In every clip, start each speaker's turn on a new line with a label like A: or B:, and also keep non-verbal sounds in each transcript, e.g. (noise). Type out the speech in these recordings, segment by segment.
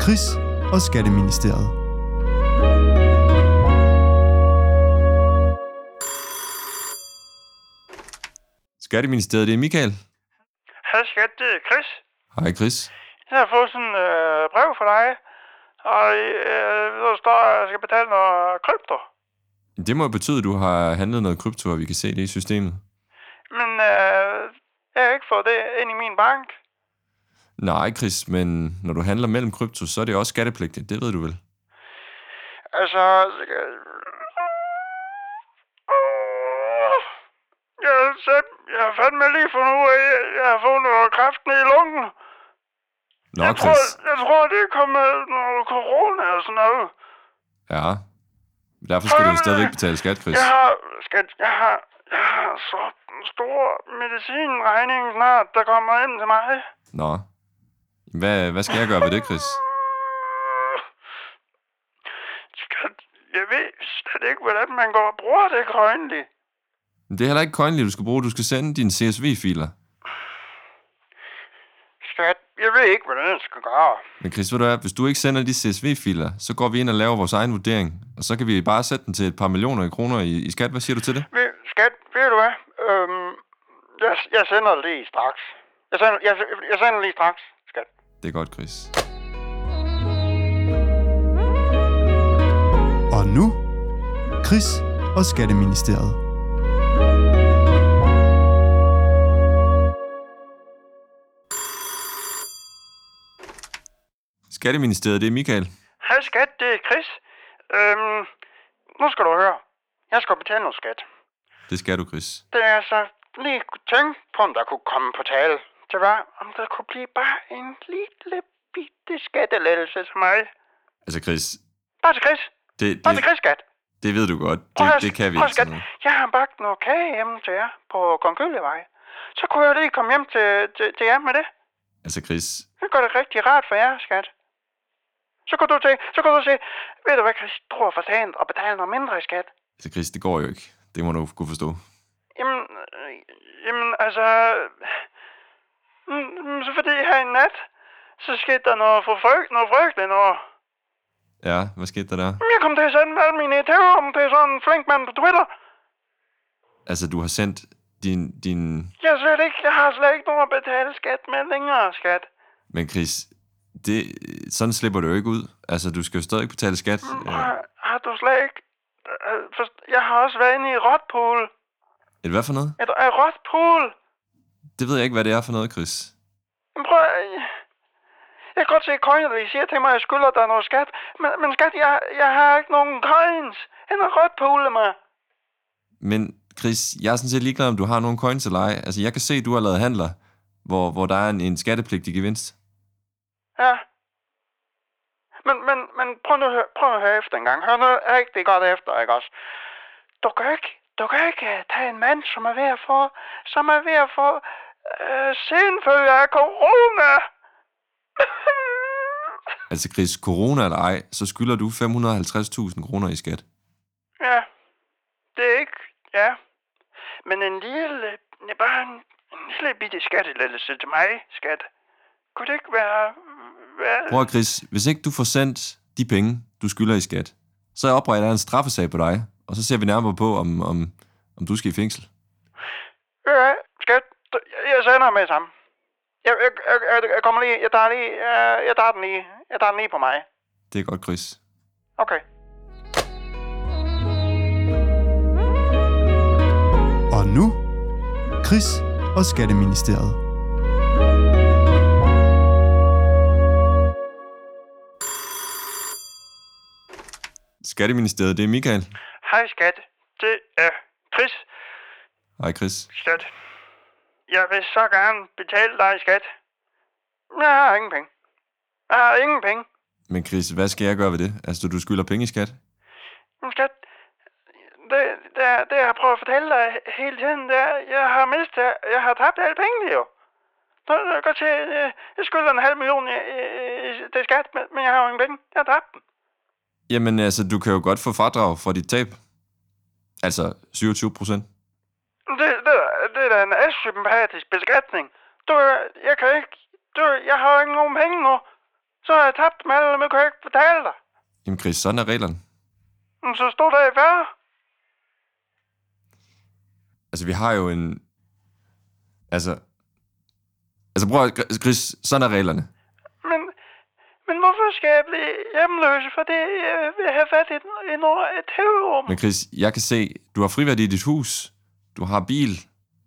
A: Kris og Skatteministeriet.
B: Skatteministeriet, det er Michael.
C: Hej skat, det er Chris.
B: Hej Chris.
C: Jeg har fået sådan et øh, brev fra dig, og øh, der står, at jeg skal betale noget krypto.
B: Det må jo betyde, at du har handlet noget krypto, og vi kan se det i systemet.
C: Men øh, jeg har ikke fået det ind i min bank.
B: Nej, Chris, men når du handler mellem krypto, så er det også skattepligtigt. Det ved du vel.
C: Altså... øh, Jeg, er sat- jeg har fandme lige fundet ud af, at jeg har fået noget kræft ned i lungen.
B: Nå,
C: jeg, tror,
B: Chris.
C: jeg tror, det er kommet af noget corona og sådan noget.
B: Ja. Derfor skal du jo
C: Øh,
B: stadigvæk betale skat, Chris.
C: Jeg har, skat, jeg har, jeg har så en stor medicinregning snart, der kommer ind til mig.
B: Nå. Hvad, hvad skal jeg gøre ved det, Chris?
C: Skat, jeg ved slet ikke, hvordan man går og bruger det grønlige.
B: Det er heller ikke Coinly, du skal bruge. Du skal sende dine CSV-filer.
C: Skat, jeg ved ikke, hvordan jeg skal gøre.
B: Men Chris, ved du hvad, hvis du ikke sender de CSV-filer, så går vi ind og laver vores egen vurdering. Og så kan vi bare sætte den til et par millioner i kroner i, i skat. Hvad siger du til det?
C: Ved, skat, ved du hvad? Øhm, jeg, jeg sender det lige straks. Jeg sender, jeg, jeg sender det lige straks, skat.
B: Det er godt, Chris.
A: Og nu, Kris og Skatteministeriet.
B: Skatteministeriet, det er Michael.
C: Hej skat, det er Chris. Øhm, nu skal du høre. Jeg skal betale noget skat.
B: Det skal du, Chris.
C: Det er altså lige kunne tænke på, om der kunne komme på tale. Det var, om der kunne blive bare en lille bitte skattelettelse til mig.
B: Altså, Chris,
C: Bare til Chris.
B: det,
C: Bare til
B: det,
C: Altså, Chris, skat.
B: det ved du godt.
C: Prøv
B: Det,
C: at-
B: det kan vi
C: prøv at
B: ikke.
C: skat.
B: Sådan. noget.
C: Jeg har bagt noget kage hjemme til jer på Kong Gyllevej. Så kunne jeg jo lige komme hjem til, til, til jer med det.
B: Altså, Chris,
C: Det gør det rigtig rart for jer, skat. Så kunne du til, så kunne du sige, ved du hvad, Chris, tror for sent og betale noget mindre i skat.
B: altså, Chris, det går jo ikke. Det må du kunne forstå.
C: Jamen, øh, jamen altså... mm, mm, Så fordi her i nat, så skete der noget, for frygt, noget frygteligt noget.
B: Ja, hvad skete der der?
C: Jeg kom til at sende alle mine teorier om til sådan en flink mand på Twitter.
B: Altså, du har sendt din, din...
C: Jeg, er slet ikke, jeg har slet ikke nogen at betale skat med længere, skat.
B: Men Chris, det, sådan slipper du jo ikke ud. Altså, du skal jo stadig betale skat. Øh,
C: Har, har du slet ikke... øh, forst- Jeg har også været inde i Rotpool.
B: Et hvad for noget?
C: Et, et Rotpool.
B: Det ved jeg ikke, hvad det er for noget, Chris.
C: Men Prøv at... Jeg kan godt se, at Coinly siger til mig, at jeg skylder dig noget skat. Men, men skat, jeg, jeg har ikke nogen coins. Han har Rotpool mig.
B: Men Chris, jeg er sådan set ligeglad, om du har nogen coins eller ej. Altså, jeg kan se, at du har lavet handler, hvor, hvor der er en, en skattepligtig gevinst.
C: Ja. Men, men, men prøv nu at høre- prøv at høre efter en gang. Hør nu rigtig godt efter, ikke også? Du kan ikke, du kan ikke øh, tage en mand, som er ved at få, som er ved at få øh, senfølger af corona. (laughs)
B: Altså, Chris, corona eller ej, så skylder du 550.000 kroner i skat.
C: ja, det er ikke, ja. Men en lille, nej, bare en, en lille bitte skattelettelse til mig, skat. Kunne det ikke være, være
B: Prøv at, Chris, hvis ikke du får sendt de penge, du skylder i skat, så opretter jeg en straffesag på dig, og så ser vi nærmere på, om, om, om du skal i fængsel.
C: Ja, skat. Jeg- Jeg sender med sammen. Jeg, jeg, jeg, jeg kommer lige. Jeg tager lige. Jeg, jeg tager den lige. Jeg tager den lige på mig.
B: Det er godt, Chris.
C: Okay.
A: Og nu, Kris og Skatteministeriet.
B: Skatteministeriet, det er Michael.
C: Hej, skat. Det er Chris.
B: Hej, Chris.
C: Skat. Jeg vil så gerne betale dig, skat. Jeg har ingen penge. Jeg har ingen penge.
B: Men Chris, hvad skal jeg gøre ved det? Altså, du skylder penge i skat?
C: Men skat, det, det, er- det jeg prøver at fortælle dig hele tiden, det er, jeg har mistet, jeg har tabt alle pengene jo. Så kan jeg godt se, øh, jeg skylder en halv million i, i, i det skat, men, men jeg har jo ingen penge. Jeg har tabt dem.
B: Jamen, altså, du kan jo godt få fradrag for dit tab. Altså, 27 procent.
C: Det, det, er- det er da en asympatisk beskatning. Du, jeg kan ikke, du, jeg har jo ikke nogen penge nu. Så har jeg tabt dem alle, men kan jeg ikke betale dig.
B: Jamen Chris, sådan er reglerne.
C: Men så stod der i færre.
B: Altså, vi har jo en... Altså... Altså, prøv at... Chris, sådan er reglerne.
C: Men, men hvorfor skal jeg blive hjemløs, fordi jeg vil have fat i et, et, et tv-rum?
B: Men Chris, jeg kan se, du har friværdi i dit hus. Du har bil.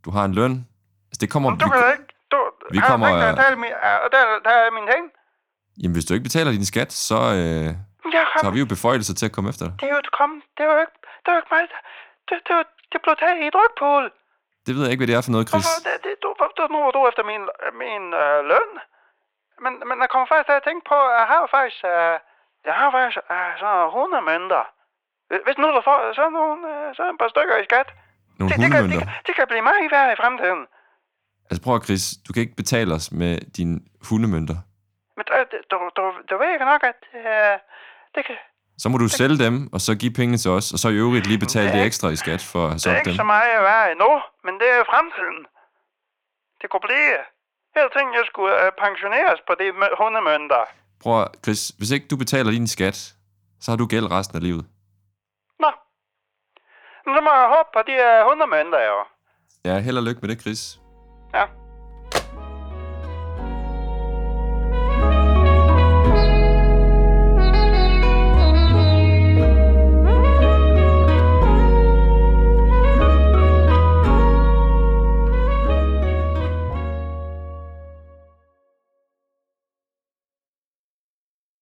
B: Du har en løn. Altså, det kommer...
C: Du kan da ikke... Du,
B: vi
C: har du
B: kommer- øh,
C: Ikke, der, der, er min, er- der, der er mine ting.
B: Jamen, hvis du ikke betaler din skat, så, øh,
C: Jeg
B: så har
C: kom,
B: vi jo beføjelser til at komme efter dig.
C: det er jo kommet. Det var jo ikke, det var ikke mig. der- Det, det, var, det blev taget i et rygpål.
B: Det ved jeg ikke, hvad det er for noget, Chris.
C: Hvorfor? Det, det, du, hvorfor du- nu var du efter min, min øh, løn. Men, men jeg kommer faktisk til at tænke på, at jeg har jo faktisk... Øh, jeg har faktisk øh, sådan 100 mønter. Hvis- Hvis nu du får sådan nogle, øh, sådan et par stykker i skat,
B: Nogle
C: det, det, kan, det,
B: hundemønter.
C: kan, det kan blive meget værre i fremtiden.
B: Altså, prøv at, Chris, du kan ikke betale os med dine hundemønter.
C: Men øh, du, du, du ved ikke nok, at øh, det, kan,
B: Så må du sælge dem, og så give pengene til os, og så i øvrigt lige betale
C: Det er
B: det
C: ikke-
B: ekstra i skat for at have
C: det er
B: solgt
C: ikke
B: dem.
C: så meget værre endnu, men det er fremtiden. Det kunne blive. Jeg tænkte, jeg skulle øh, pensioneres på de mø- hundemønter.
B: Prøv at, Chris, hvis ikke du betaler din skat, så har du gæld resten af livet.
C: Nå. Men så må jeg håbe på de øh, hundemønter, jo.
B: Ja, held og lykke med det, Chris.
C: Ja.